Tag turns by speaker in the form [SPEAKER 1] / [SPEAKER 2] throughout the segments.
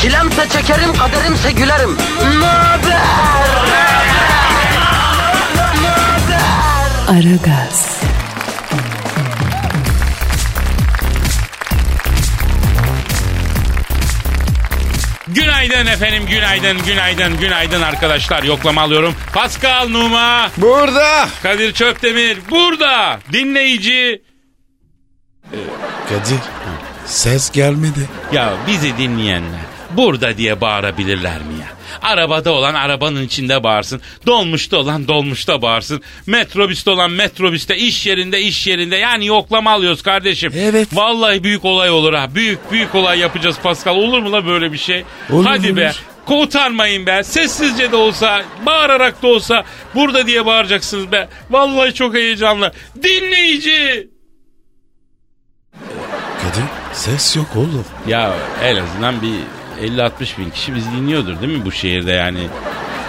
[SPEAKER 1] Çilemse çekerim, kaderimse gülerim. Möber!
[SPEAKER 2] Aragaz,
[SPEAKER 3] Günaydın efendim, günaydın, günaydın, günaydın arkadaşlar. Yoklama alıyorum. Pascal Numa,
[SPEAKER 4] Burada.
[SPEAKER 3] Kadir Çöptemir burada. Dinleyici.
[SPEAKER 4] Kadir. Ses gelmedi.
[SPEAKER 3] Ya bizi dinleyenler burada diye bağırabilirler mi ya? Arabada olan arabanın içinde bağırsın. Dolmuşta olan dolmuşta bağırsın. Metrobüste olan metrobüste, iş yerinde iş yerinde. Yani yoklama alıyoruz kardeşim.
[SPEAKER 4] Evet.
[SPEAKER 3] Vallahi büyük olay olur ha. Büyük büyük olay yapacağız Pascal. Olur mu la böyle bir şey?
[SPEAKER 4] Olur,
[SPEAKER 3] Hadi be.
[SPEAKER 4] olur.
[SPEAKER 3] Kurtarmayın be. Sessizce de olsa, bağırarak da olsa burada diye bağıracaksınız be. Vallahi çok heyecanlı. Dinleyici.
[SPEAKER 4] Kadir ses yok oğlum.
[SPEAKER 3] Ya en azından bir 50-60 bin kişi biz dinliyordur değil mi bu şehirde yani?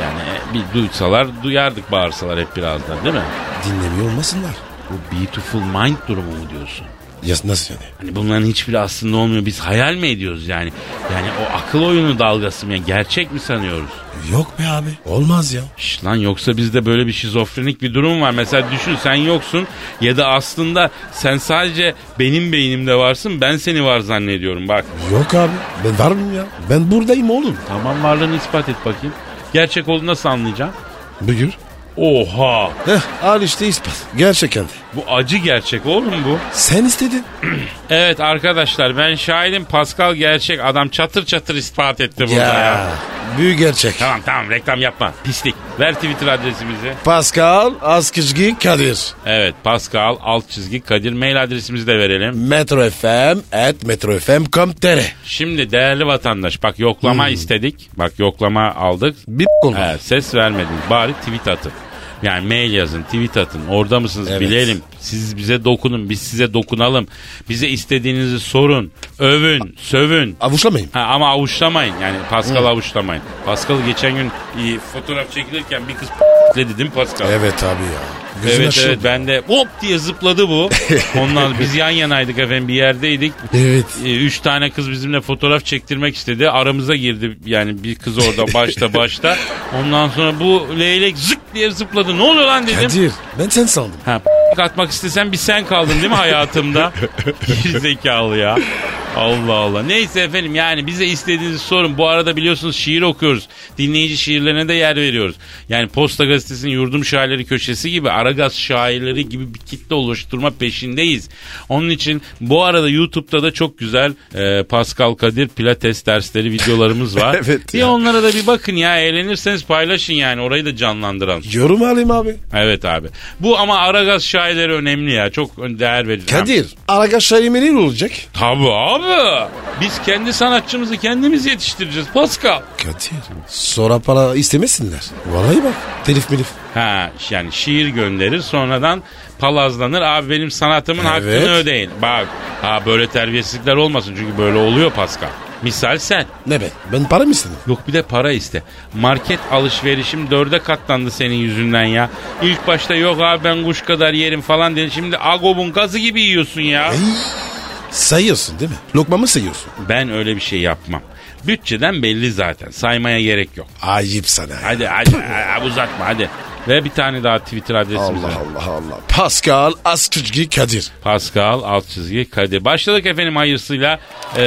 [SPEAKER 3] Yani e, bir duysalar duyardık bağırsalar hep birazdan değil mi?
[SPEAKER 4] Dinlemiyor olmasınlar.
[SPEAKER 3] Bu beautiful mind durumu mu diyorsun?
[SPEAKER 4] Ya nasıl yani?
[SPEAKER 3] Hani bunların hiçbiri aslında olmuyor. Biz hayal mi ediyoruz yani? Yani o akıl oyunu dalgası mı? ya? gerçek mi sanıyoruz?
[SPEAKER 4] Yok be abi. Olmaz ya.
[SPEAKER 3] Şş lan yoksa bizde böyle bir şizofrenik bir durum var. Mesela düşün sen yoksun ya da aslında sen sadece benim beynimde varsın ben seni var zannediyorum bak.
[SPEAKER 4] Yok abi. Ben var mıyım ya? Ben buradayım oğlum.
[SPEAKER 3] Tamam varlığını ispat et bakayım. Gerçek olduğunu nasıl anlayacağım?
[SPEAKER 4] Buyur.
[SPEAKER 3] Oha!
[SPEAKER 4] Heh al işte ispat. Gerçekten de.
[SPEAKER 3] Bu acı gerçek oğlum bu.
[SPEAKER 4] Sen istedin.
[SPEAKER 3] Evet arkadaşlar ben şahidim Pascal gerçek. Adam çatır çatır ispat etti burada ya.
[SPEAKER 4] Büyük gerçek.
[SPEAKER 3] Tamam tamam reklam yapma. Pislik. Ver Twitter adresimizi.
[SPEAKER 4] Pascal Askizgi Kadir.
[SPEAKER 3] Evet Pascal alt çizgi Kadir mail adresimizi de verelim.
[SPEAKER 4] Metro FM at metrofm.com.tr
[SPEAKER 3] Şimdi değerli vatandaş bak yoklama istedik. Bak yoklama aldık.
[SPEAKER 4] Bip konu.
[SPEAKER 3] He, ses vermediniz. Bari tweet atın. Yani mail yazın, tweet atın. Orada mısınız
[SPEAKER 4] Evet.
[SPEAKER 3] bilelim. Siz bize dokunun, biz size dokunalım. Bize istediğinizi sorun, övün, sövün.
[SPEAKER 4] Avuçlamayın.
[SPEAKER 3] Ha, ama avuçlamayın yani Pascal avuçlamayın. Pascal geçen gün e, fotoğraf çekilirken bir kız dedi değil mi Pascal?
[SPEAKER 4] Evet abi ya. Gözün
[SPEAKER 3] Evet
[SPEAKER 4] aşırı.
[SPEAKER 3] evet ben de hop diye zıpladı bu. Ondan biz yan yanaydık efendim bir yerdeydik.
[SPEAKER 4] Evet.
[SPEAKER 3] E, Üç tane kız bizimle fotoğraf çektirmek istedi. Aramıza girdi yani bir kız orada başta başta. Ondan sonra bu leylek zık diye zıpladı. Ne oluyor lan dedim.
[SPEAKER 4] Kadir ben sen sandım.
[SPEAKER 3] Ha, atmak istesen bir sen kaldın değil mi hayatımda? Gerizekalı ya. Allah Allah. Neyse efendim yani bize istediğinizi sorun. Bu arada biliyorsunuz şiir okuyoruz. Dinleyici şiirlerine de yer veriyoruz. Yani Posta Gazetesi'nin yurdum şairleri köşesi gibi Aragaz şairleri gibi bir kitle oluşturma peşindeyiz. Onun için bu arada YouTube'da da çok güzel e, Pascal Kadir Pilates dersleri videolarımız var.
[SPEAKER 4] Evet
[SPEAKER 3] bir
[SPEAKER 4] ya.
[SPEAKER 3] onlara da bir bakın ya eğlenirseniz paylaşın yani orayı da canlandıralım.
[SPEAKER 4] Yorum alayım abi.
[SPEAKER 3] Evet abi. Bu ama Aragaz şairleri önemli ya. Çok ön- değer veririz.
[SPEAKER 4] Kadir. Araka şairi olacak?
[SPEAKER 3] Tabii abi. Biz kendi sanatçımızı kendimiz yetiştireceğiz Pascal.
[SPEAKER 4] Kadir. Sonra para istemesinler. Vallahi bak. Telif milif.
[SPEAKER 3] Ha ş- yani şiir gönderir sonradan palazlanır. Abi benim sanatımın
[SPEAKER 4] Evet.
[SPEAKER 3] hakkını ödeyin. Bak ha böyle terbiyesizlikler olmasın çünkü böyle oluyor Pascal. Misal sen.
[SPEAKER 4] Ne ben? Ben para mı istedim?
[SPEAKER 3] Yok bir de para iste. Market alışverişim dörde katlandı senin yüzünden ya. İlk başta yok abi ben kuş kadar yerim falan dedin. Şimdi agobun gazı gibi yiyorsun ya.
[SPEAKER 4] Ey, sayıyorsun değil mi? Lokmamı sayıyorsun.
[SPEAKER 3] Ben öyle bir şey yapmam. Bütçeden belli zaten. Saymaya gerek yok.
[SPEAKER 4] Ayıp sana. ya.
[SPEAKER 3] Hadi hadi hadi, uzatma hadi. Ve bir tane daha Twitter adresimiz var.
[SPEAKER 4] Allah Allah Allah. Pascal Askizgi Kadir.
[SPEAKER 3] Pascal alt çizgi Kadir. Başladık efendim hayırsıyla. Ee,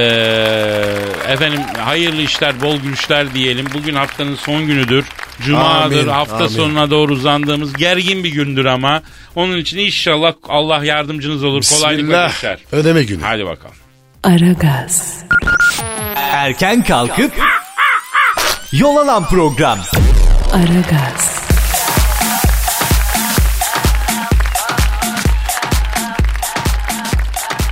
[SPEAKER 3] efendim hayırlı işler, bol gülüşler diyelim. Bugün haftanın son günüdür. Cuma'dır.
[SPEAKER 4] Amin,
[SPEAKER 3] hafta
[SPEAKER 4] amin.
[SPEAKER 3] sonuna doğru uzandığımız gergin bir gündür ama. Onun için inşallah Allah yardımcınız olur. Kolaylık ve
[SPEAKER 4] Bismillah.
[SPEAKER 3] işler.
[SPEAKER 4] Ödeme günü.
[SPEAKER 3] Hadi bakalım.
[SPEAKER 2] Aragaz,
[SPEAKER 5] Erken kalkıp yol alan program.
[SPEAKER 2] Aragaz,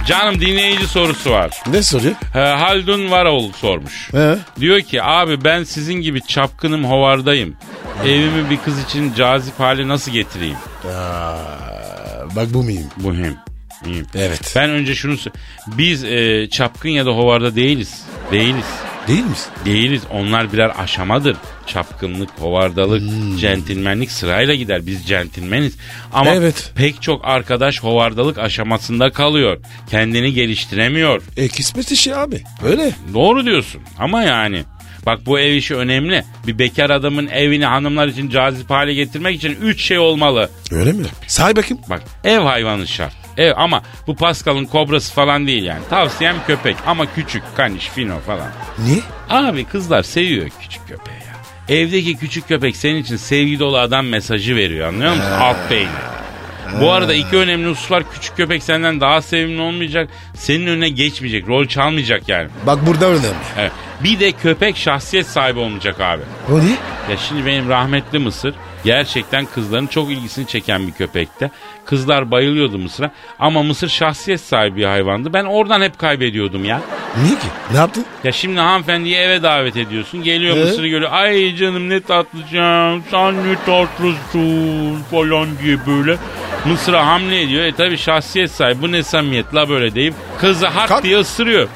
[SPEAKER 3] Canım dinleyici sorusu var.
[SPEAKER 4] Ne soruyor? Ee,
[SPEAKER 3] Ee, Haldun Varol sormuş.
[SPEAKER 4] He?
[SPEAKER 3] Diyor ki abi ben sizin gibi çapkınım hovardayım. Evimi bir kız için cazip hale nasıl getireyim?
[SPEAKER 4] Aa, bak bu miyim?
[SPEAKER 3] Bu hem. hem.
[SPEAKER 4] Evet.
[SPEAKER 3] Ben önce şunu sö- Biz e, çapkın ya da hovarda değiliz. Değiliz.
[SPEAKER 4] Değil misin?
[SPEAKER 3] Değiliz. Onlar birer aşamadır. Çapkınlık, hovardalık, centilmenlik sırayla gider. Biz centilmeniz. Ama
[SPEAKER 4] Evet.
[SPEAKER 3] pek çok arkadaş hovardalık aşamasında kalıyor. Kendini geliştiremiyor.
[SPEAKER 4] E kısmet işi abi. Öyle.
[SPEAKER 3] Doğru diyorsun. Ama yani bak bu ev işi önemli. Bir bekar adamın evini hanımlar için cazip hale getirmek için üç şey olmalı.
[SPEAKER 4] Öyle mi? Say bakayım.
[SPEAKER 3] Bak ev hayvanı şart. Ev ama bu Pascal'ın kobrası falan değil yani. Tavsiyem köpek ama küçük, kaniş, fino falan.
[SPEAKER 4] Niye?
[SPEAKER 3] Abi kızlar seviyor küçük köpeği ya. Evdeki küçük köpek senin için sevgi dolu adam mesajı veriyor anlıyor musun? Alt beyni. Bu arada iki önemli hususlar küçük köpek senden daha sevimli olmayacak. Senin önüne geçmeyecek. Rol çalmayacak yani.
[SPEAKER 4] Bak burada önemli.
[SPEAKER 3] Evet. Bir de köpek şahsiyet sahibi olmayacak abi.
[SPEAKER 4] O ne?
[SPEAKER 3] Ya şimdi benim rahmetli Mısır gerçekten kızların çok ilgisini çeken bir köpekti. Kızlar bayılıyordu Mısır'a ama Mısır şahsiyet sahibi bir hayvandı. Ben oradan hep kaybediyordum ya.
[SPEAKER 4] Niye ki? Ne yaptın?
[SPEAKER 3] Ya şimdi hanımefendiyi eve davet ediyorsun. Geliyor
[SPEAKER 4] Ee?
[SPEAKER 3] mısırı görüyor. Ay canım ne tatlıcım. Sen ne tatlısın falan diye böyle. Mısır'a hamle ediyor. E tabi şahsiyet sahibi. Bu ne samimiyet la böyle deyip kızı hak
[SPEAKER 4] Kalk.
[SPEAKER 3] diye ısırıyor.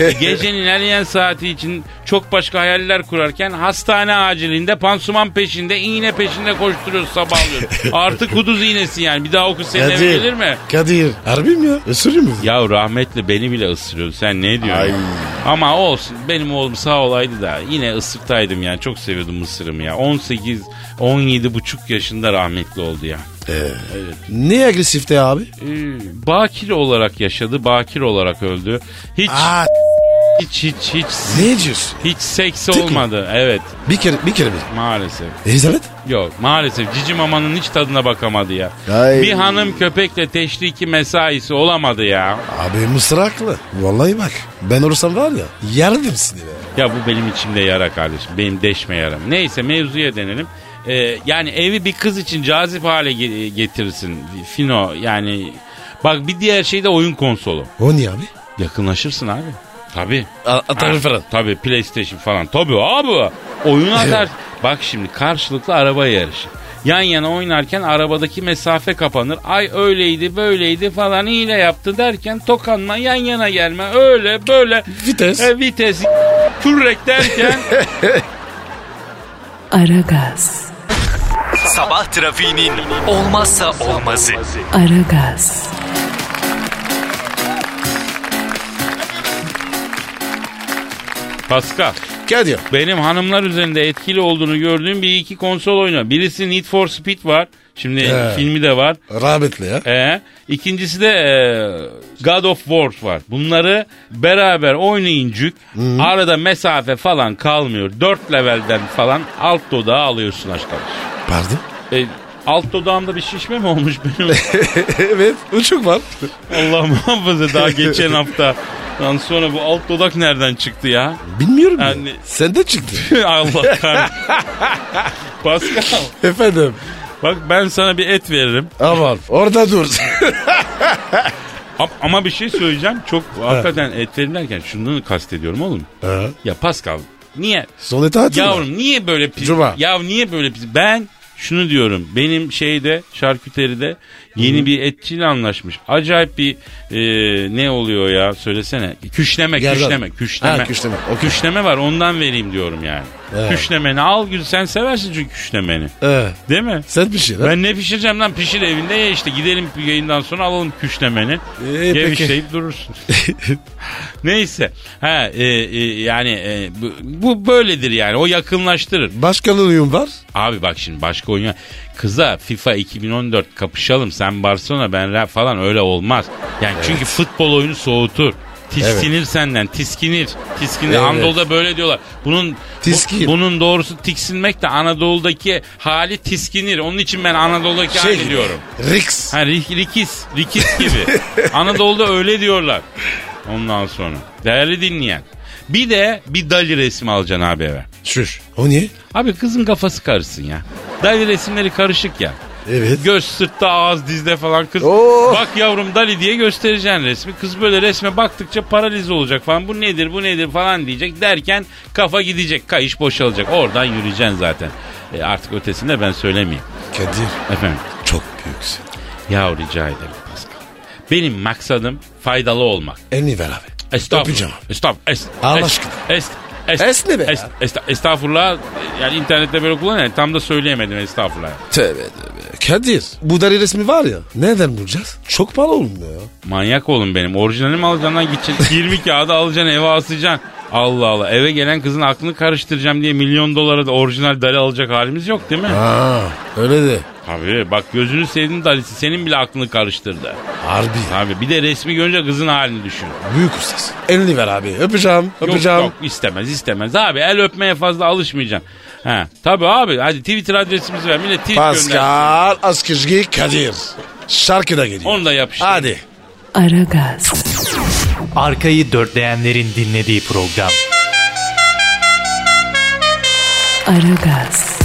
[SPEAKER 3] E, gecenin ilerleyen saati için çok başka hayaller kurarken hastane acilinde pansuman peşinde iğne peşinde koşturuyor sabahlıyor. Artık kuduz iğnesi yani. Bir daha o kız senin eve gelir mi?
[SPEAKER 4] Kadir. Harbi mi ya? Isırıyor mu?
[SPEAKER 3] Ya rahmetli beni bile ısırıyordu. Sen ne diyorsun? Ama olsun. Benim oğlum sağ olaydı da yine ısırtaydım yani. Çok seviyordum mısırımı ya. 18, 17 buçuk yaşında rahmetli oldu ya.
[SPEAKER 4] Niye agresifte abi?
[SPEAKER 3] Ee, bakir olarak yaşadı. Bakir olarak öldü. Hiç
[SPEAKER 4] Aa
[SPEAKER 3] hiç hiç hiç
[SPEAKER 4] ne diyorsun?
[SPEAKER 3] hiç seks
[SPEAKER 4] Tık mı?
[SPEAKER 3] olmadı. Evet
[SPEAKER 4] Bir kere bir kere bir.
[SPEAKER 3] maalesef.
[SPEAKER 4] Elizabeth?
[SPEAKER 3] Yok maalesef cici mamanın hiç tadına bakamadı ya.
[SPEAKER 4] Ay.
[SPEAKER 3] Bir hanım köpekle teşriki mesaisi olamadı ya.
[SPEAKER 4] Abi mısraklı. Vallahi bak. Ben olursam var ya. Yerdim seni be.
[SPEAKER 3] Ya bu benim içimde yara kardeşim. Benim deşme yaram. Neyse mevzuya dönelim. Ee, yani evi bir kız için cazip hale ge- getirsin. Fino yani. Bak bir diğer şey de oyun konsolu.
[SPEAKER 4] O niye abi?
[SPEAKER 3] Yakınlaşırsın abi. Tabii.
[SPEAKER 4] Atarım
[SPEAKER 3] Ha, Tabii PlayStation falan. Tabii abi. Oyun atar. Bak şimdi karşılıklı araba yarışı. Yan yana oynarken arabadaki mesafe kapanır. Ay öyleydi böyleydi falan hile yaptı derken tokanma yan yana gelme öyle böyle.
[SPEAKER 4] Vites.
[SPEAKER 3] E, vites kürrek derken
[SPEAKER 2] Aragaz,
[SPEAKER 5] Sabah trafiğinin olmazsa olmazı.
[SPEAKER 2] Aragaz,
[SPEAKER 3] Pascal
[SPEAKER 4] Kadir.
[SPEAKER 3] benim hanımlar üzerinde etkili olduğunu gördüğüm bir iki konsol oyunu. Birisi Need for Speed var. Şimdi
[SPEAKER 4] He.
[SPEAKER 3] filmi de var.
[SPEAKER 4] Rahmetli ya.
[SPEAKER 3] E, ikincisi de e, God of War var. Bunları beraber oynayıncık arada mesafe falan kalmıyor. Dört levelden falan alt dodağı alıyorsun aşk arkadaş.
[SPEAKER 4] Pardon.
[SPEAKER 3] E, alt dodağımda bir şişme mi olmuş benim?
[SPEAKER 4] evet. Uçuk var.
[SPEAKER 3] Allah muhafaza daha geçen hafta. Lan sonra bu alt dodak nereden çıktı ya?
[SPEAKER 4] Bilmiyorum
[SPEAKER 3] Yani-
[SPEAKER 4] ya. Sende çıktı.
[SPEAKER 3] Allah kahretsin. Pascal
[SPEAKER 4] Efendim.
[SPEAKER 3] bak ben sana bir et veririm.
[SPEAKER 4] Aman orada dur.
[SPEAKER 3] A- Ama bir şey söyleyeceğim. Çok hakikaten et verim derken şundan kastediyorum oğlum. Ya Pascal niye?
[SPEAKER 4] Son etahat
[SPEAKER 3] Yavrum niye böyle pis?
[SPEAKER 4] Cuma.
[SPEAKER 3] Ya niye böyle pis? Ben şunu diyorum. Benim şeyde şarküteride yeni bir etçiyle anlaşmış. Acayip bir e, ne oluyor ya söylesene. Küşleme,
[SPEAKER 4] Gerdan.
[SPEAKER 3] küşleme, küşleme.
[SPEAKER 4] Ha, küşleme, okey.
[SPEAKER 3] Küşleme var ondan vereyim diyorum yani.
[SPEAKER 4] Evet.
[SPEAKER 3] Küşlemeni al gül sen seversin çünkü küşlemeni.
[SPEAKER 4] Ee,
[SPEAKER 3] Değil mi?
[SPEAKER 4] sen bir şey lan.
[SPEAKER 3] Ben ne pişireceğim lan pişir evinde ye işte gidelim bir yayından sonra alalım küşlemeni.
[SPEAKER 4] Ee,
[SPEAKER 3] Gevişleyip durursun. Neyse. Ha, e, e, yani e, bu, bu böyledir yani o yakınlaştırır.
[SPEAKER 4] Başkanın uyum var.
[SPEAKER 3] Abi bak şimdi başka oyun kıza FIFA 2014 kapışalım sen Barcelona ben Real falan öyle olmaz. Yani çünkü futbol oyunu soğutur. Tiskinir senden, tiskinir. Tiskinir.
[SPEAKER 4] Evet.
[SPEAKER 3] Anadolu'da böyle diyorlar. Bunun bu-
[SPEAKER 4] Tiskin.
[SPEAKER 3] bunun doğrusu tiksinmek de Anadolu'daki hali tiskinir. Onun için ben Anadolu'daki
[SPEAKER 4] Şey-
[SPEAKER 3] hali diyorum.
[SPEAKER 4] Rix.
[SPEAKER 3] Ha rik- rikis, rikis gibi. Anadolu'da öyle diyorlar. Ondan sonra. Değerli dinleyen. Bir de bir Dali resmi alacaksın abi eve.
[SPEAKER 4] Şuş. O niye?
[SPEAKER 3] Abi kızın kafası karışsın ya. Dali resimleri karışık ya.
[SPEAKER 4] Evet.
[SPEAKER 3] Göz sırtta ağız dizde falan kız.
[SPEAKER 6] Oo.
[SPEAKER 3] Bak yavrum Dali diye göstereceksin resmi. Kız böyle resme baktıkça paralize olacak falan. Bu nedir bu nedir falan diyecek. Derken kafa gidecek. Kayış boşalacak. Oradan yürüyeceksin zaten. E, artık ötesini de ben söylemeyeyim.
[SPEAKER 4] Kadir
[SPEAKER 3] Efendim.
[SPEAKER 4] çok büyüksün.
[SPEAKER 3] Ya rica ederim Pascal. Benim maksadım faydalı olmak.
[SPEAKER 4] Elini ver abi. Öpeceğim
[SPEAKER 3] Estağfurullah.
[SPEAKER 4] abi.
[SPEAKER 3] Estağfurullah. Est,
[SPEAKER 4] Allah
[SPEAKER 3] est,
[SPEAKER 4] aşkına.
[SPEAKER 3] Est, est,
[SPEAKER 6] Est ne be ya?
[SPEAKER 3] est, est- estağfurullah. Yani internette böyle kullanıyor. Tam da söyleyemedim estağfurullah.
[SPEAKER 4] Tövbe tövbe. Kadir bu deri resmi var ya. Nereden bulacağız? Çok pahalı olmuyor ya.
[SPEAKER 3] Manyak oğlum benim. Orijinali mi alacaksın lan gideceksin. 20 kağıdı alacaksın eve asacaksın. Allah Allah. Eve gelen kızın aklını karıştıracağım diye milyon dolara da orijinal dali alacak halimiz yok değil mi?
[SPEAKER 4] Ha öyle de.
[SPEAKER 3] Tabii bak gözünü sevdiğin dalisi senin bile aklını karıştırdı.
[SPEAKER 4] Harbi.
[SPEAKER 3] Tabii bir de resmi görünce kızın halini düşün.
[SPEAKER 4] Büyük ustası. Elini ver abi. Öpeceğim. Öpeceğim.
[SPEAKER 3] Yok yok istemez istemez abi el öpmeye fazla alışmayacağım. He, tabii abi hadi Twitter adresimizi ver millet tweet gönder.
[SPEAKER 4] Pascal Askizgi Kadir. Şarkı da geliyor.
[SPEAKER 3] Onu da yapıştır.
[SPEAKER 4] Hadi.
[SPEAKER 2] Aragaz,
[SPEAKER 5] Arkayı dörtleyenlerin dinlediği program.
[SPEAKER 2] Aragaz,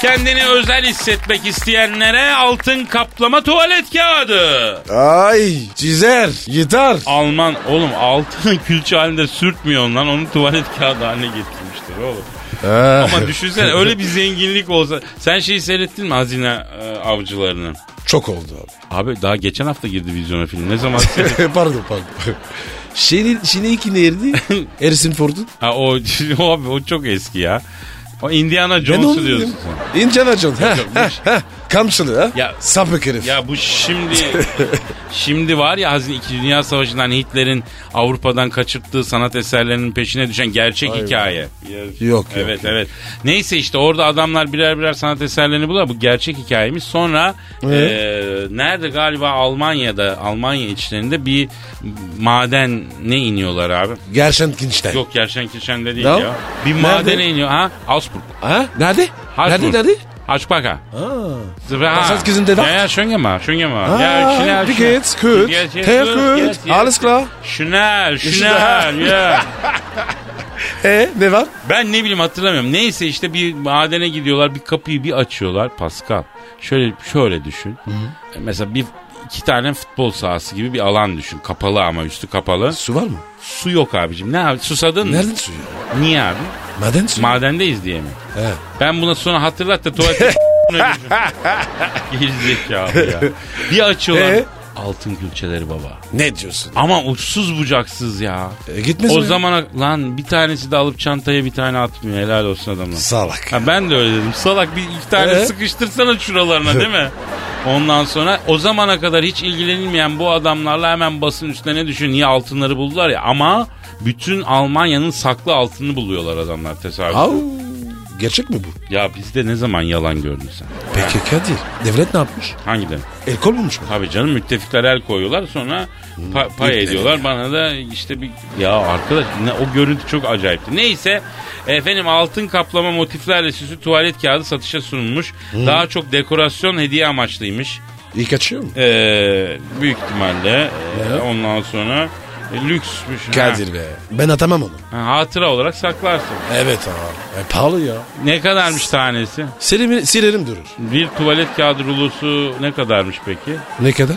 [SPEAKER 3] Kendini özel hissetmek isteyenlere altın kaplama tuvalet kağıdı.
[SPEAKER 4] Ay çizer. Yeter.
[SPEAKER 3] Alman oğlum altını külçe halinde sürtmüyor lan onu tuvalet kağıdı haline getirmiştir oğlum. Ama düşünsene öyle bir zenginlik olsa. Sen şeyi seyrettin mi hazine e, avcılarını?
[SPEAKER 4] Çok oldu abi.
[SPEAKER 3] Abi daha geçen hafta girdi vizyona film. Ne zaman seyrettin?
[SPEAKER 4] pardon pardon. Şeyin, Şine iki nerede? Harrison Ford'un.
[SPEAKER 3] ha, o, o, abi, o çok eski ya. O Indiana
[SPEAKER 4] onu
[SPEAKER 3] Jones'u
[SPEAKER 4] dedim.
[SPEAKER 3] diyorsun sen.
[SPEAKER 4] Indiana Jones. Heh, heh, heh. Kamçılı ha.
[SPEAKER 3] Ya-
[SPEAKER 4] Sapık herif.
[SPEAKER 3] Ya bu şimdi şimdi var ya Hazine 2. Dünya Savaşı'ndan Hitler'in Avrupa'dan kaçırttığı sanat eserlerinin peşine düşen gerçek hikaye.
[SPEAKER 4] yok,
[SPEAKER 3] Evet
[SPEAKER 4] yok.
[SPEAKER 3] evet. Neyse işte orada adamlar birer birer sanat eserlerini buluyor. Bu gerçek hikayemiz. Sonra eee, nerede galiba Almanya'da Almanya içlerinde bir maden ne iniyorlar abi?
[SPEAKER 4] Gerşen Kinçten.
[SPEAKER 3] Yok Gerşen Kirşen de değil
[SPEAKER 4] Ya.
[SPEAKER 3] ya. Bir
[SPEAKER 4] Nerede?
[SPEAKER 3] madene iniyor. Ha? Augsburg.
[SPEAKER 4] Ha? Nerede?
[SPEAKER 3] Habsburg.
[SPEAKER 4] Nerede nerede?
[SPEAKER 3] Haşbaka.
[SPEAKER 4] Ha.
[SPEAKER 3] Was
[SPEAKER 4] hat gesendet?
[SPEAKER 3] Ja, ja, schon gemacht, schon gemacht. ja,
[SPEAKER 4] Ah,
[SPEAKER 3] schnell,
[SPEAKER 4] wie
[SPEAKER 3] schnell.
[SPEAKER 4] geht's? Gut.
[SPEAKER 3] Yes, yes,
[SPEAKER 4] Sehr
[SPEAKER 3] yes,
[SPEAKER 4] gut.
[SPEAKER 3] yes, yes.
[SPEAKER 4] Alles klar.
[SPEAKER 3] Schnell,
[SPEAKER 4] schnell.
[SPEAKER 3] schnell, ja.
[SPEAKER 4] E ne var?
[SPEAKER 3] Ben ne bileyim hatırlamıyorum. Neyse işte bir madene gidiyorlar, bir kapıyı bir açıyorlar Pascal. Şöyle şöyle düşün. E, Mesela bir iki tane futbol sahası gibi bir alan düşün. Kapalı ama üstü kapalı.
[SPEAKER 4] Su var mı?
[SPEAKER 3] Su yok abicim. Ne abi? Susadın mı?
[SPEAKER 4] Nereden suyu?
[SPEAKER 3] Niye abi?
[SPEAKER 4] Maden suyu.
[SPEAKER 3] Madendeyiz diye mi?
[SPEAKER 4] He.
[SPEAKER 3] Ben buna sonra hatırlat da tuvalete Gerizekalı ya. Bir açıyorlar.
[SPEAKER 4] Ee?
[SPEAKER 3] Altın külçeleri baba.
[SPEAKER 4] ne diyorsun?
[SPEAKER 3] Ama uçsuz bucaksız ya.
[SPEAKER 4] E, gitmez
[SPEAKER 3] o
[SPEAKER 4] mi?
[SPEAKER 3] zamana lan bir tanesi de alıp çantaya bir tane atmıyor. Helal olsun adamlar.
[SPEAKER 4] Salak.
[SPEAKER 3] Ha, ben de öyle dedim. Salak bir iki tane
[SPEAKER 4] Ee?
[SPEAKER 3] sıkıştırsana şuralarına değil mi? Ondan sonra o zamana kadar hiç ilgilenilmeyen bu adamlarla hemen basın üstüne ne düşün niye altınları buldular ya ama bütün Almanya'nın saklı altını buluyorlar adamlar tesadüf.
[SPEAKER 4] Au. Gerçek mi bu?
[SPEAKER 3] Ya bizde ne zaman yalan gördün sen?
[SPEAKER 4] Peki Kadir. Devlet ne yapmış?
[SPEAKER 3] Hangileri?
[SPEAKER 4] El kol bulmuş mu?
[SPEAKER 3] Tabii canım müttefikler el koyuyorlar sonra pa- pay ediyorlar. Bana da işte bir ya arkadaş ne, o görüntü çok acayipti. Neyse efendim altın kaplama motiflerle süslü tuvalet kağıdı satışa sunulmuş. Daha çok dekorasyon hediye amaçlıymış.
[SPEAKER 4] İyi kaçıyor mu?
[SPEAKER 3] Ee, büyük ihtimalle ee, ondan sonra e, lüksmüş.
[SPEAKER 4] Kadir be. Ben atamam onu.
[SPEAKER 3] Ha, ha, hatıra olarak saklarsın.
[SPEAKER 4] Evet abi. E, pahalı ya.
[SPEAKER 3] Ne kadarmış tanesi?
[SPEAKER 4] Silerim, silerim durur.
[SPEAKER 3] Bir tuvalet kağıdı rulosu ne kadarmış peki?
[SPEAKER 4] Ne kadar?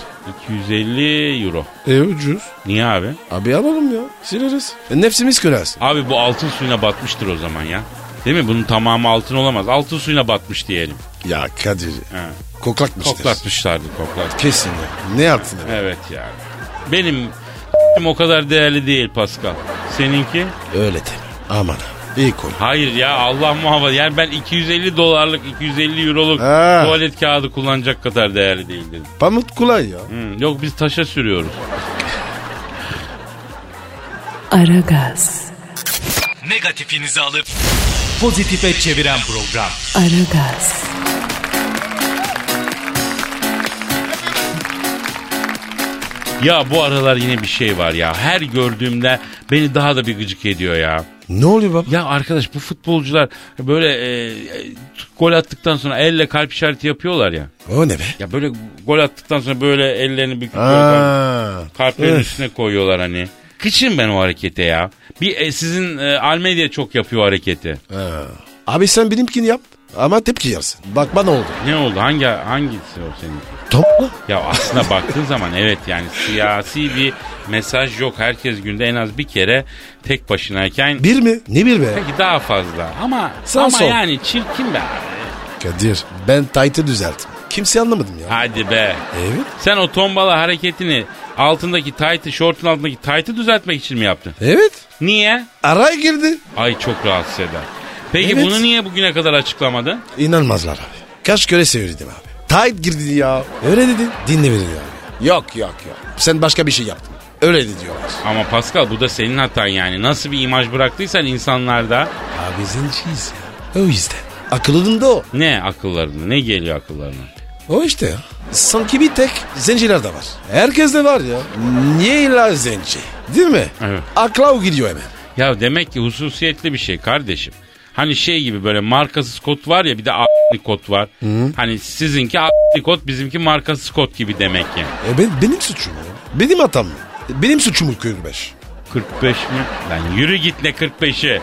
[SPEAKER 3] 250 euro.
[SPEAKER 4] E ucuz.
[SPEAKER 3] Niye abi?
[SPEAKER 4] Abi alalım ya. Sileriz. E, nefsimiz kırarız.
[SPEAKER 3] Abi bu altın suyuna batmıştır o zaman ya. Değil mi? Bunun tamamı altın olamaz. Altın suyuna batmış diyelim.
[SPEAKER 4] Ya Kadir.
[SPEAKER 3] He.
[SPEAKER 4] Koklatmıştır.
[SPEAKER 3] Koklatmışlardı koklat.
[SPEAKER 4] Kesin ya. Ne yaptın? abi?
[SPEAKER 3] Evet yani. Benim o kadar değerli değil Pascal. Seninki?
[SPEAKER 4] Öyle deme. Aman. ha. İyi kol.
[SPEAKER 3] Hayır ya Allah muhafaza. Yani ben 250 dolarlık 250 euroluk
[SPEAKER 4] Ha.
[SPEAKER 3] tuvalet kağıdı kullanacak kadar değerli değil dedim.
[SPEAKER 4] Pamuk kolay ya.
[SPEAKER 3] Hı, Yok biz taşa sürüyoruz.
[SPEAKER 2] Aragaz,
[SPEAKER 5] Negatifinizi alıp pozitife çeviren program.
[SPEAKER 2] Aragaz,
[SPEAKER 3] Ya bu aralar yine bir şey var ya. Her gördüğümde beni daha da bir gıcık ediyor ya.
[SPEAKER 4] Ne oluyor baba?
[SPEAKER 3] Ya arkadaş bu futbolcular böyle e, e, gol attıktan sonra elle kalp işareti yapıyorlar ya.
[SPEAKER 4] O ne be?
[SPEAKER 3] Ya böyle gol attıktan sonra böyle ellerini büküyorlar.
[SPEAKER 4] Aa,
[SPEAKER 3] Kalplerin
[SPEAKER 4] Öf.
[SPEAKER 3] üstüne koyuyorlar hani. Kıçım ben o harekete ya. Bir e, sizin e, Almedia çok yapıyor hareketi.
[SPEAKER 4] Ha. Abi sen benimkini yap ama tepki yersin. Bak bana oldu.
[SPEAKER 3] Ne oldu? Hangi hangisi o senin?
[SPEAKER 4] Tamam.
[SPEAKER 3] Ya aslında baktığın zaman evet yani siyasi bir mesaj yok. Herkes günde en az bir kere tek başınayken
[SPEAKER 4] Bir mi? Ne bir be?
[SPEAKER 3] belki daha fazla. Ama
[SPEAKER 4] Sağ
[SPEAKER 3] ama
[SPEAKER 4] sol.
[SPEAKER 3] yani çirkin be. abi.
[SPEAKER 4] Kadir ben taytı düzelttim. Kimse anlamadım ya.
[SPEAKER 3] Hadi be.
[SPEAKER 4] Evet.
[SPEAKER 3] Sen o tombala hareketini altındaki taytı, şortun altındaki taytı düzeltmek için mi yaptın?
[SPEAKER 4] Evet.
[SPEAKER 3] Niye?
[SPEAKER 4] Araya girdi.
[SPEAKER 3] Ay çok rahatsız eder. Peki
[SPEAKER 4] Evet.
[SPEAKER 3] bunu niye bugüne kadar açıklamadın?
[SPEAKER 4] İnanmazlar abi. Kaç köre sevdim abi. Tayt girdi ya. Öyle dedi. Dinle beni ya. Yok yok yok. Sen başka bir şey yaptın. Öyle dedi diyorlar.
[SPEAKER 3] Ama Pascal bu da senin hatan yani. Nasıl bir imaj bıraktıysan insanlarda
[SPEAKER 4] Abi zenciyiz ya. O yüzden. Akıllında o.
[SPEAKER 3] ne akıllarına ne geliyor akıllarına?
[SPEAKER 4] O işte ya. Sanki bir tek zenciler de var. Herkes de var ya. Niye illa zenci? Değil mi?
[SPEAKER 3] Evet.
[SPEAKER 4] Akla o gidiyor hemen.
[SPEAKER 3] Ya demek ki hususiyetli bir şey kardeşim. Hani şey gibi böyle markasız kot var ya bir de a**lı kot var. Hani sizinki a**lı kot bizimki markasız kot gibi demek yani.
[SPEAKER 4] E ben, benim suçum ya. Benim hatam mı? Benim suçum bu 45.
[SPEAKER 3] 45 mi? Lan yürü git ne 45'i.
[SPEAKER 4] E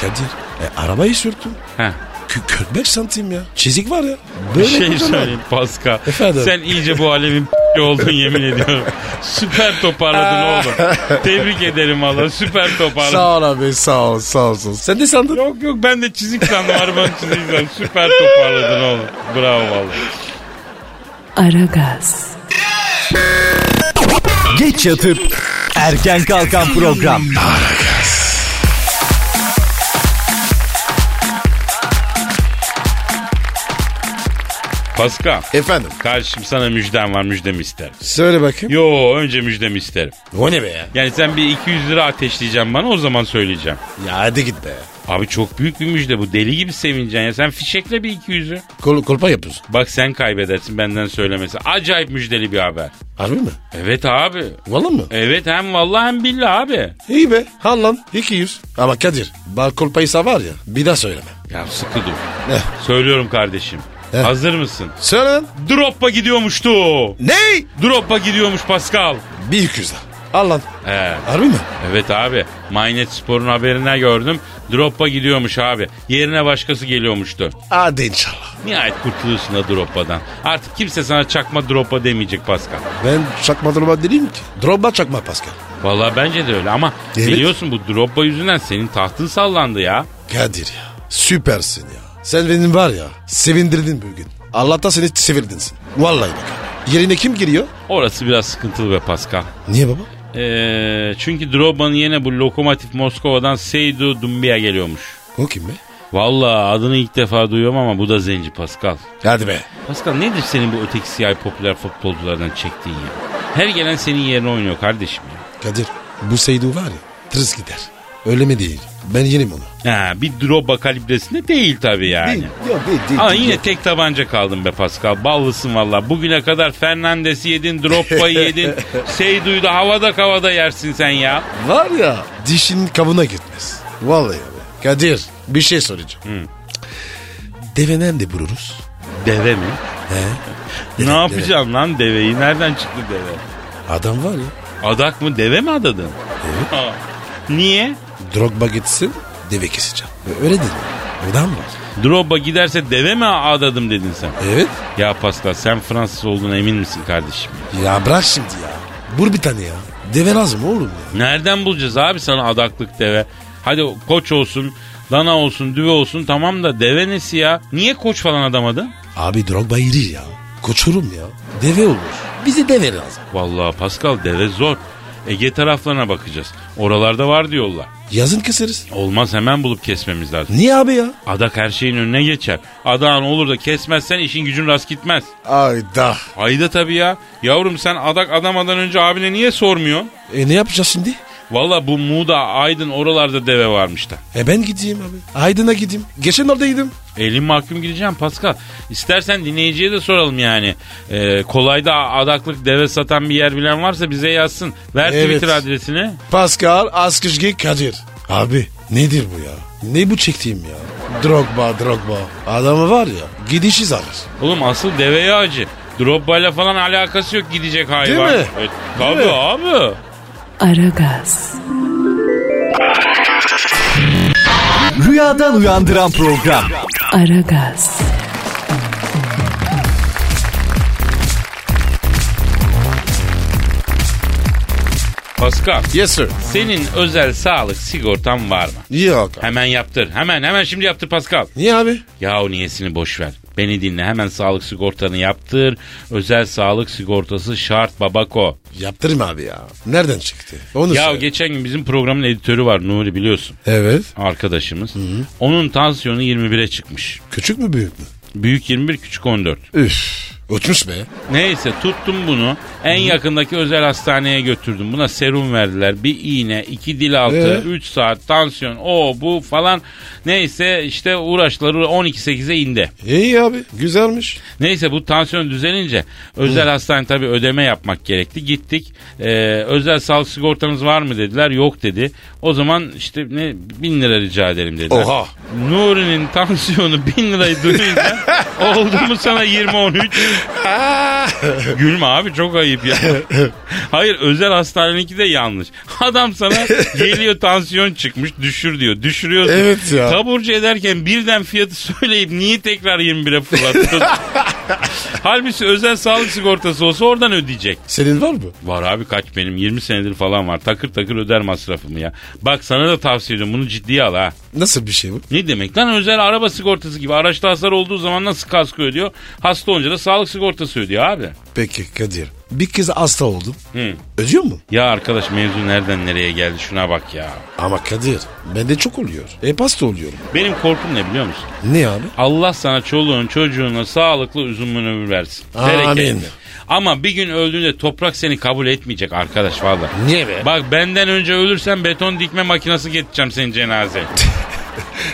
[SPEAKER 4] Kadir. E arabayı sürttüm.
[SPEAKER 3] Heh.
[SPEAKER 4] Kü- 45 santim ya. Çizik var ya.
[SPEAKER 3] Bir
[SPEAKER 4] Böyle
[SPEAKER 3] şey
[SPEAKER 4] kocaman.
[SPEAKER 3] söyleyeyim Pascal.
[SPEAKER 4] Efendim?
[SPEAKER 3] Sen iyice bu alemin oldun yemin ediyorum. Süper toparladın oğlum. Tebrik ederim valla süper toparladın.
[SPEAKER 4] Sağ ol abi sağ ol sağ olsun. Sen ne sandın?
[SPEAKER 3] Yok yok ben de çizik sandım arabanın çizik sandım. Süper toparladın oğlum. Bravo valla.
[SPEAKER 2] Aragaz,
[SPEAKER 5] Geç yatıp erken kalkan program.
[SPEAKER 3] Pascal.
[SPEAKER 4] Efendim.
[SPEAKER 3] Karşım sana müjdem var müjdemi isterim.
[SPEAKER 4] Söyle bakayım.
[SPEAKER 3] Yo önce müjdemi isterim.
[SPEAKER 4] O ne be ya?
[SPEAKER 3] Yani sen bir 200 lira ateşleyeceksin bana o zaman söyleyeceğim.
[SPEAKER 4] Ya hadi git be.
[SPEAKER 3] Abi çok büyük bir müjde bu deli gibi sevineceksin ya sen fişekle bir 200'ü.
[SPEAKER 4] Kol, kolpa yapıyorsun.
[SPEAKER 3] Bak sen kaybedersin benden söylemesi. Acayip müjdeli bir haber.
[SPEAKER 4] Harbi mi?
[SPEAKER 3] Evet abi.
[SPEAKER 4] Valla mı?
[SPEAKER 3] Evet hem vallahi hem billahi abi.
[SPEAKER 4] İyi be. Al lan. 200. Ama Kadir. Bak kolpaysa var ya. Bir daha söyleme.
[SPEAKER 3] Ya sıkı dur.
[SPEAKER 4] Ne?
[SPEAKER 3] Söylüyorum kardeşim.
[SPEAKER 4] Heh.
[SPEAKER 3] Hazır mısın?
[SPEAKER 4] Söyle lan.
[SPEAKER 3] Droppa gidiyormuştu.
[SPEAKER 4] Ne?
[SPEAKER 3] Droppa gidiyormuş Pascal.
[SPEAKER 4] Bir 200 daha. Al lan.
[SPEAKER 3] He.
[SPEAKER 4] Harbi mi?
[SPEAKER 3] Evet abi. Maynet Spor'un haberine gördüm. Droppa gidiyormuş abi. Yerine başkası geliyormuştu.
[SPEAKER 4] Hadi inşallah.
[SPEAKER 3] Nihayet kurtuluyorsun da Droppa'dan. Artık kimse sana çakma Droppa demeyecek Pascal.
[SPEAKER 4] Ben çakma droba değilim ki. Droba çakma Pascal.
[SPEAKER 3] Vallahi bence de öyle ama
[SPEAKER 4] Evet.
[SPEAKER 3] biliyorsun bu Droppa yüzünden senin tahtın sallandı ya.
[SPEAKER 4] Kadir ya. Süpersin ya. Sen benim var ya. Sevindirdin bugün. Allah'tan seni sevirdin sen. Vallahi bak. abi. Yerine kim giriyor?
[SPEAKER 3] Orası biraz sıkıntılı be Pascal.
[SPEAKER 4] Niye baba?
[SPEAKER 3] Ee, çünkü Drobba'nın yerine bu lokomotif Moskova'dan Seydu Dumbia geliyormuş.
[SPEAKER 4] O kim be?
[SPEAKER 3] Vallahi adını ilk defa duyuyorum ama bu da zenci Pascal.
[SPEAKER 4] Hadi be.
[SPEAKER 3] Pascal nedir senin bu öteki siyah popüler futbolculardan çektiğin ya? Her gelen senin yerine oynuyor kardeşim ya.
[SPEAKER 4] Kadir bu Seydu var ya tırıs gider. Öyle mi değil? Ben yenim onu.
[SPEAKER 3] Ha, bir Drobba kalibresinde değil tabii yani.
[SPEAKER 4] Yok değil değil.
[SPEAKER 3] Ama yine tek tabanca kaldım be Pascal. Ballısın valla. Bugüne kadar Fernandes'i yedin, Drobba'yı yedin. Seydu'yu da havada kavada yersin sen ya.
[SPEAKER 4] Var ya dişin kabına gitmez. Vallahi abi. Kadir bir şey soracağım. Devenen de vururuz.
[SPEAKER 3] Deve mi?
[SPEAKER 4] He?
[SPEAKER 3] ne
[SPEAKER 4] Deve,
[SPEAKER 3] yapacağım lan deveyi? Nereden çıktı deve?
[SPEAKER 4] deve. Adam var ya.
[SPEAKER 3] Adak mı deve mi adadın? Ha. Niye?
[SPEAKER 4] Drogba gitsin deve keseceğim. E, Öyle dedi. Adam var.
[SPEAKER 3] Drobba giderse deve mi adadım dedin sen?
[SPEAKER 4] Evet.
[SPEAKER 3] Ya Pascal sen Fransız olduğuna emin misin kardeşim?
[SPEAKER 4] Ya bırak şimdi ya. Vur bir tane ya. Deve lazım oğlum ya.
[SPEAKER 3] Nereden bulacağız abi sana adaklık deve? Hadi o- koç olsun, dana olsun, düve olsun tamam da deve nesi ya? Niye koç falan adamadın?
[SPEAKER 4] Abi Drogba iri ya. Koçurum ya. Deve olur. Bize deve lazım.
[SPEAKER 3] Vallahi Pascal deve zor. Ege taraflarına bakacağız. Oralarda var diyorlar.
[SPEAKER 4] Yazın keseriz.
[SPEAKER 3] Olmaz hemen bulup kesmemiz lazım.
[SPEAKER 4] Niye abi ya?
[SPEAKER 3] Adak her şeyin önüne geçer. Adağın olur da kesmezsen işin gücün rast gitmez.
[SPEAKER 4] Ayda.
[SPEAKER 3] Hayda tabii ya. Yavrum sen adak adamadan önce abine niye sormuyorsun?
[SPEAKER 4] E ne yapacağız şimdi?
[SPEAKER 3] Valla bu Muğda, Aydın oralarda deve varmış da.
[SPEAKER 4] E ben gideyim abi. Aydın'a gideyim. Geçen oradaydım.
[SPEAKER 3] Elin mahkum gideceğim Pascal. İstersen dinleyiciye de soralım yani. Ee, kolayda adaklık deve satan bir yer bilen varsa bize yazsın. Ver
[SPEAKER 4] Evet.
[SPEAKER 3] Twitter adresini.
[SPEAKER 4] Pascal Askışgi Kadir. Abi nedir bu ya? Ne bu çektiğim ya? Drogba Drogba. Adamı var ya gidişi zarar.
[SPEAKER 3] Oğlum asıl deveye acı. Drobba'yla falan alakası yok gidecek hayvan.
[SPEAKER 4] mi?
[SPEAKER 3] Evet, tabii
[SPEAKER 4] mi?
[SPEAKER 3] abi.
[SPEAKER 2] Aragaz,
[SPEAKER 5] Rüyadan uyandıran program.
[SPEAKER 2] Aragaz,
[SPEAKER 3] Pascal
[SPEAKER 4] Yes sir.
[SPEAKER 3] senin özel sağlık sigortan var mı?
[SPEAKER 4] Yok.
[SPEAKER 3] Hemen yaptır. Hemen hemen şimdi yaptır Pascal.
[SPEAKER 4] Niye abi?
[SPEAKER 3] Yahu niyesini boş ver. Beni dinle hemen sağlık sigortanı yaptır. Özel sağlık sigortası şart babako.
[SPEAKER 4] Yaptırma abi ya. Nereden çıktı? Onu
[SPEAKER 3] Ya
[SPEAKER 4] söyle.
[SPEAKER 3] geçen gün bizim programın editörü var Nuri biliyorsun
[SPEAKER 4] Evet.
[SPEAKER 3] arkadaşımız. Onun tansiyonu 21'e çıkmış.
[SPEAKER 4] Küçük mü büyük mü?
[SPEAKER 3] Büyük 21 küçük 14.
[SPEAKER 4] Üf. Uçmuş be.
[SPEAKER 3] Neyse tuttum bunu. En yakındaki özel hastaneye götürdüm. Buna serum verdiler. Bir iğne, iki dil altı,
[SPEAKER 4] Ee?
[SPEAKER 3] 3 saat tansiyon, o bu falan. Neyse işte uğraşları 12-8'e indi.
[SPEAKER 4] İyi abi. Güzelmiş.
[SPEAKER 3] Neyse bu tansiyon düzelince özel hastane tabii ödeme yapmak gerekti. Gittik. Ee, özel sağlık sigortanız var mı dediler. Yok dedi. O zaman işte ne bin lira rica edelim dediler.
[SPEAKER 4] Oha.
[SPEAKER 3] Nuri'nin tansiyonu bin lirayı duyunca oldu mu sana 20-13? Gülme abi çok ayıp ya. Hayır özel hastaneninki de yanlış. Adam sana geliyor tansiyon çıkmış düşür diyor. Düşürüyorsun.
[SPEAKER 4] Evet ya.
[SPEAKER 3] Taburcu ederken birden fiyatı söyleyip niye tekrar 21'e fırlattın? Halbuki özel sağlık sigortası olsa oradan ödeyecek.
[SPEAKER 4] Senin var mı?
[SPEAKER 3] Var abi kaç benim 20 senedir falan var. Takır takır öder masrafımı ya. Bak sana da tavsiye ediyorum bunu ciddiye al ha.
[SPEAKER 4] Nasıl bir şey bu?
[SPEAKER 3] Ne demek lan özel araba sigortası gibi araçta hasar olduğu zaman nasıl kasko ödüyor? Hasta olunca da sağlık sigortası ödüyor abi.
[SPEAKER 4] Peki Kadir. Bir kez hasta oldum.
[SPEAKER 3] Hı.
[SPEAKER 4] Ödüyor mu?
[SPEAKER 3] Ya arkadaş mevzu nereden nereye geldi şuna bak ya.
[SPEAKER 4] Ama Kadir. Bende çok oluyor. E hasta oluyorum.
[SPEAKER 3] Benim korkum ne biliyor musun?
[SPEAKER 4] Ne abi?
[SPEAKER 3] Allah sana çoluğun çocuğuna sağlıklı uzun ömür versin.
[SPEAKER 4] Amin.
[SPEAKER 3] Bereketli. Ama bir gün öldüğünde toprak seni kabul etmeyecek arkadaş valla.
[SPEAKER 4] Niye be?
[SPEAKER 3] Bak benden önce ölürsen beton dikme makinası getireceğim senin cenazeye.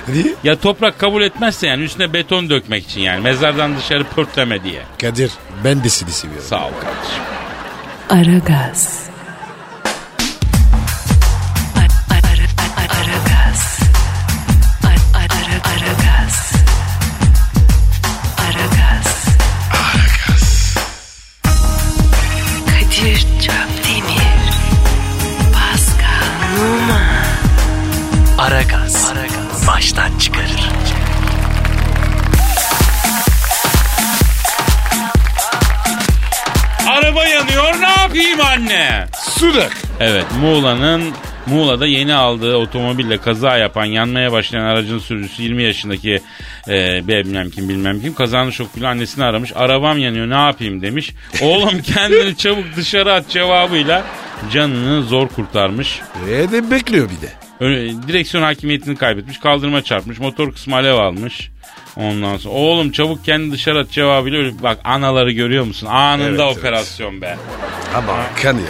[SPEAKER 4] Niye?
[SPEAKER 3] ya toprak kabul etmezse yani üstüne beton dökmek için yani mezardan dışarı pörtleme diye.
[SPEAKER 4] Kadir. Ben de seni seviyorum.
[SPEAKER 3] Sağ ol kardeşim.
[SPEAKER 2] Aragaz. Ara- ara- ara- Aragaz. Ara- ara- Aragaz. Aragaz. Kadir Çöpdemir. Pascal Numa.
[SPEAKER 6] Aragaz. Baştan çıkarır.
[SPEAKER 3] Araba yanıyor ne yapayım anne?
[SPEAKER 4] Sudak.
[SPEAKER 3] Evet Muğla'nın Muğla'da yeni aldığı otomobille kaza yapan yanmaya başlayan aracın sürücüsü 20 yaşındaki e, bir bilmem kim bilmem kim kazanın şokuyla annesini aramış. Arabam yanıyor ne yapayım demiş. Oğlum kendini çabuk dışarı at cevabıyla canını zor kurtarmış.
[SPEAKER 4] E de bekliyor bir de.
[SPEAKER 3] Ö- Direksiyon hakimiyetini kaybetmiş kaldırıma çarpmış motor kısmı alev almış. Ondan sonra oğlum çabuk kendini dışarı at cevabıyla ölüp- bak anaları görüyor musun? Anında
[SPEAKER 4] Evet,
[SPEAKER 3] operasyon be.
[SPEAKER 4] Ama Kadir.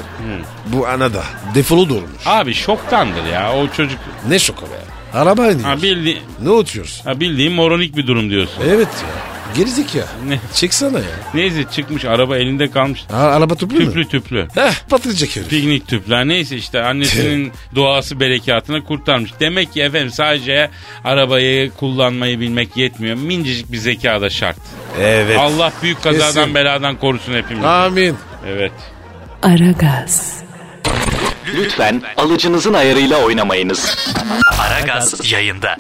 [SPEAKER 4] Bu anada. Defolu durmuş.
[SPEAKER 3] Abi şoktandır ya o çocuk.
[SPEAKER 4] Ne şoka be. Araba iniyor.
[SPEAKER 3] Ha, bildi,
[SPEAKER 4] Ne oturuyorsun?
[SPEAKER 3] Ha bildiğin moronik bir durum diyorsun.
[SPEAKER 4] Evet ya. Gerizek ya.
[SPEAKER 3] Ne?
[SPEAKER 4] Çeksene ya.
[SPEAKER 3] Neyse çıkmış araba elinde kalmış.
[SPEAKER 4] A- araba tüplü mü?
[SPEAKER 3] Tüplü tüplü.
[SPEAKER 4] Heh patlayacak herif.
[SPEAKER 3] Piknik tüpler neyse işte annesinin duası berekatına kurtarmış. Demek ki efendim sadece arabayı kullanmayı bilmek yetmiyor. Mincicik bir zeka da şart.
[SPEAKER 4] Evet.
[SPEAKER 3] Allah büyük kazadan
[SPEAKER 4] Kesin.
[SPEAKER 3] beladan korusun hepimizi.
[SPEAKER 4] Amin.
[SPEAKER 3] Evet.
[SPEAKER 2] Aragaz.
[SPEAKER 6] Lütfen alıcınızın ayarıyla oynamayınız. Aragaz yayında.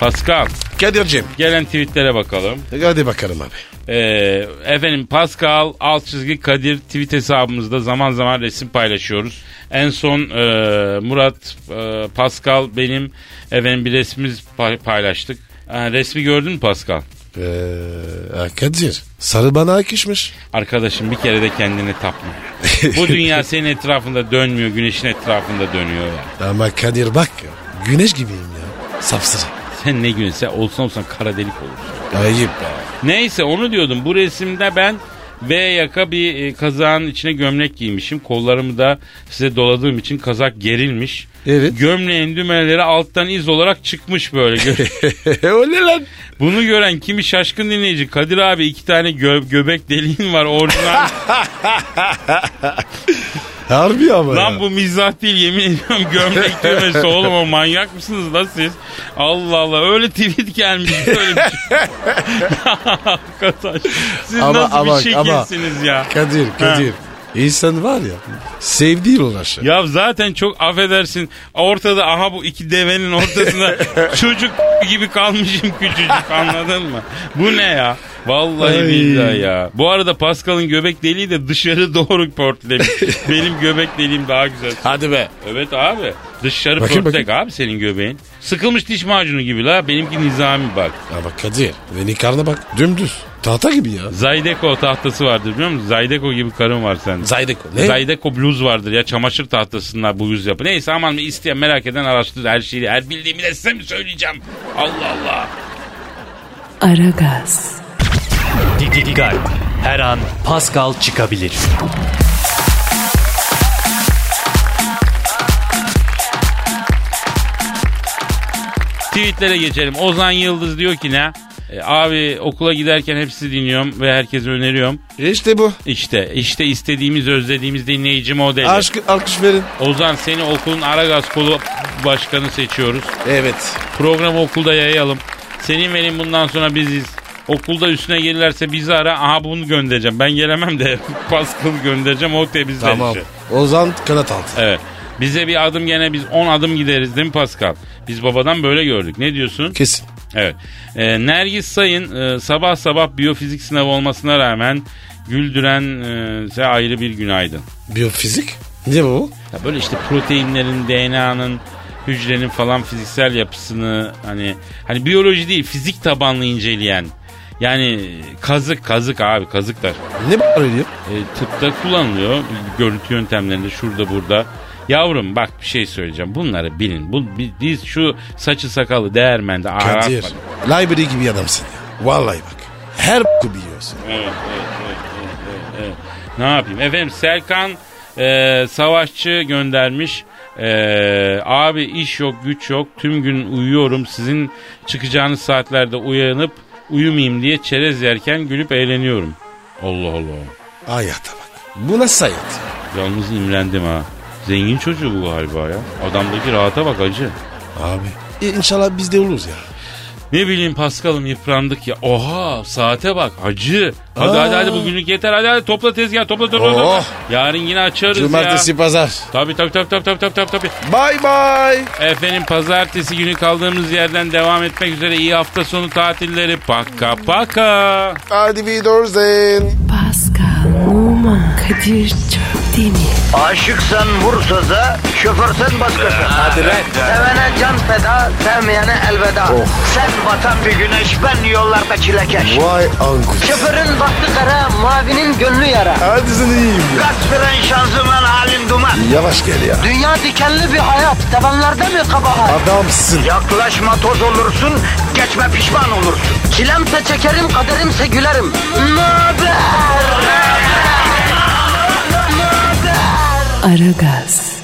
[SPEAKER 3] Pascal
[SPEAKER 4] Kadir'cim.
[SPEAKER 3] gelen tweetlere bakalım.
[SPEAKER 4] Hadi bakalım abi.
[SPEAKER 3] Ee, efendim Pascal alt çizgi Kadir tweet hesabımızda zaman zaman resim paylaşıyoruz. En son e, Murat e, Pascal benim efendim bir resmimiz pay- paylaştık. Ha, resmi gördün mü Pascal?
[SPEAKER 4] Ee, ha, Kadir. Sarı bana akışmış.
[SPEAKER 3] Arkadaşım bir kere de kendini tapma. Bu dünya senin etrafında dönmüyor, güneşin etrafında dönüyor ya.
[SPEAKER 4] Ama Kadir bak ya. Güneş gibiyim ya. Sapsarı.
[SPEAKER 3] Sen ne günse olsan olsan kara delik olursun.
[SPEAKER 4] Ayıp be.
[SPEAKER 3] Neyse onu diyordum. Bu resimde ben V yaka bir e, kazağın içine gömlek giymişim. Kollarımı da size doladığım için kazak gerilmiş.
[SPEAKER 4] Evet.
[SPEAKER 3] Gömleğin düğmeleri alttan iz olarak çıkmış böyle. Gö-
[SPEAKER 4] o ne lan?
[SPEAKER 3] Bunu gören kimi şaşkın dinleyici Kadir abi iki tane gö- göbek deliğin var orijinal.
[SPEAKER 4] Harbi ama
[SPEAKER 3] lan
[SPEAKER 4] ya.
[SPEAKER 3] bu mizah değil yemin ediyorum gömlek düğmesi oğlum o manyak mısınız lan siz? Allah Allah öyle tweet gelmiş böyle bir şey. Arkadaş siz
[SPEAKER 4] Ama-
[SPEAKER 3] nasıl
[SPEAKER 4] ama-
[SPEAKER 3] bir
[SPEAKER 4] ama-
[SPEAKER 3] şekilsiniz ya?
[SPEAKER 4] Kadir, Kadir. İnsan var ya sevdiği uğraşır.
[SPEAKER 3] Ya zaten çok affedersin ortada aha bu iki devenin ortasında çocuk gibi kalmışım küçücük anladın mı? Bu ne ya? Vallahi
[SPEAKER 4] Ay.
[SPEAKER 3] billahi ya. Bu arada Pascal'ın göbek deliği de dışarı doğru pörtlemiş. Benim göbek deliğim daha güzel.
[SPEAKER 4] Hadi be.
[SPEAKER 3] Evet abi dışarı
[SPEAKER 4] Bakayım,
[SPEAKER 3] pörtlek abi senin göbeğin. Sıkılmış diş macunu gibi la benimki nizami bak.
[SPEAKER 4] Ya bak Kadir beni karnına bak dümdüz. Tahta gibi ya.
[SPEAKER 3] Zaydeko tahtası vardır biliyor musun? Zaydeko gibi karın var sende.
[SPEAKER 4] Zaydeko. Ne?
[SPEAKER 3] Zaydeko bluz vardır ya çamaşır tahtasında bu yüz yapı. Neyse aman isteyen merak eden araştır her şeyi. Her bildiğimi de size mi söyleyeceğim? Allah Allah.
[SPEAKER 2] Aragaz,
[SPEAKER 6] Didi Digal. Her an Pascal çıkabilir.
[SPEAKER 3] Tweetlere geçelim. Ozan Yıldız diyor ki ne? E, abi okula giderken hepsi dinliyorum ve herkese öneriyorum.
[SPEAKER 4] İşte bu.
[SPEAKER 3] İşte işte istediğimiz özlediğimiz dinleyici modeli.
[SPEAKER 4] Aşk, alkış verin.
[SPEAKER 3] Ozan seni okulun Aragaz kolu başkanı seçiyoruz.
[SPEAKER 4] Evet.
[SPEAKER 3] Programı okulda yayalım. Senin benim bundan sonra biziz. Okulda üstüne gelirlerse bizi ara. Aha bunu göndereceğim. Ben gelemem de Pascal göndereceğim. O da bizden
[SPEAKER 4] Tamam.
[SPEAKER 3] işi.
[SPEAKER 4] Ozan kanat altı.
[SPEAKER 3] Evet. Bize bir adım gene biz 10 adım gideriz değil mi Pascal? Biz babadan böyle gördük. Ne diyorsun?
[SPEAKER 4] Kesin.
[SPEAKER 3] Evet. Ee, Nergis Sayın e, sabah sabah biyofizik sınavı olmasına rağmen güldüren e, size ayrı bir günaydın.
[SPEAKER 4] Biyofizik? Niye bu?
[SPEAKER 3] Ya böyle işte proteinlerin, DNA'nın, hücrenin falan fiziksel yapısını hani hani biyoloji değil fizik tabanlı inceleyen yani kazık kazık abi kazıklar
[SPEAKER 4] Ne bağırıyor?
[SPEAKER 3] e, tıpta kullanılıyor görüntü yöntemlerinde şurada burada. Yavrum bak bir şey söyleyeceğim bunları bilin. Bu, biz şu saçı sakalı değermende
[SPEAKER 4] Kadir.
[SPEAKER 3] ağır
[SPEAKER 4] Library gibi adamsın ya. Vallahi bak. Her b***ı biliyorsun.
[SPEAKER 3] Ne yapayım? Efendim Serkan e, Savaşçı göndermiş. E, abi iş yok güç yok tüm gün uyuyorum sizin çıkacağınız saatlerde uyanıp uyumayayım diye çerez yerken gülüp eğleniyorum. Allah Allah.
[SPEAKER 4] Hayata bak. Bu nasıl hayat?
[SPEAKER 3] Yalnız imrendim ha. Zengin çocuğu bu galiba ya. Adamdaki rahata bak acı.
[SPEAKER 4] Abi. İnşallah E, biz de oluruz ya.
[SPEAKER 3] Ne bileyim Paskal'ım yıprandık ya. Oha saate bak acı. Hadi
[SPEAKER 4] Aa.
[SPEAKER 3] hadi hadi bugünlük yeter hadi hadi topla tezgah topla topla. topla.
[SPEAKER 4] Oh.
[SPEAKER 3] Yarın yine açarız ya.
[SPEAKER 4] Cumartesi pazar.
[SPEAKER 3] Tabii tabii tabii tabii tabii tabii tabii.
[SPEAKER 4] Bye bye.
[SPEAKER 3] Efendim pazartesi günü kaldığımız yerden devam etmek üzere iyi hafta sonu tatilleri. Paka paka.
[SPEAKER 4] Hadi bir dorzen.
[SPEAKER 2] Pascal, Oman, Kadir çok değil mi?
[SPEAKER 1] Aşıksan vursa da, şoförsen başkasın. Hadi Sevene can feda, sevmeyene elveda. Sen batan bir güneş, ben yollarda çilekeş.
[SPEAKER 4] Vay anku.
[SPEAKER 1] Şoförün baktı kara, mavinin gönlü yara.
[SPEAKER 4] Hadi sen iyiyim ya.
[SPEAKER 1] Kasperen şanzıman halin duman.
[SPEAKER 4] Yavaş gel ya.
[SPEAKER 1] Dünya dikenli bir hayat, sevenlerde mi kabahar?
[SPEAKER 4] Adamsın.
[SPEAKER 1] Yaklaşma toz olursun, geçme pişman olursun. Çilemse çekerim, kaderimse gülerim. Möber!
[SPEAKER 2] Aragaz.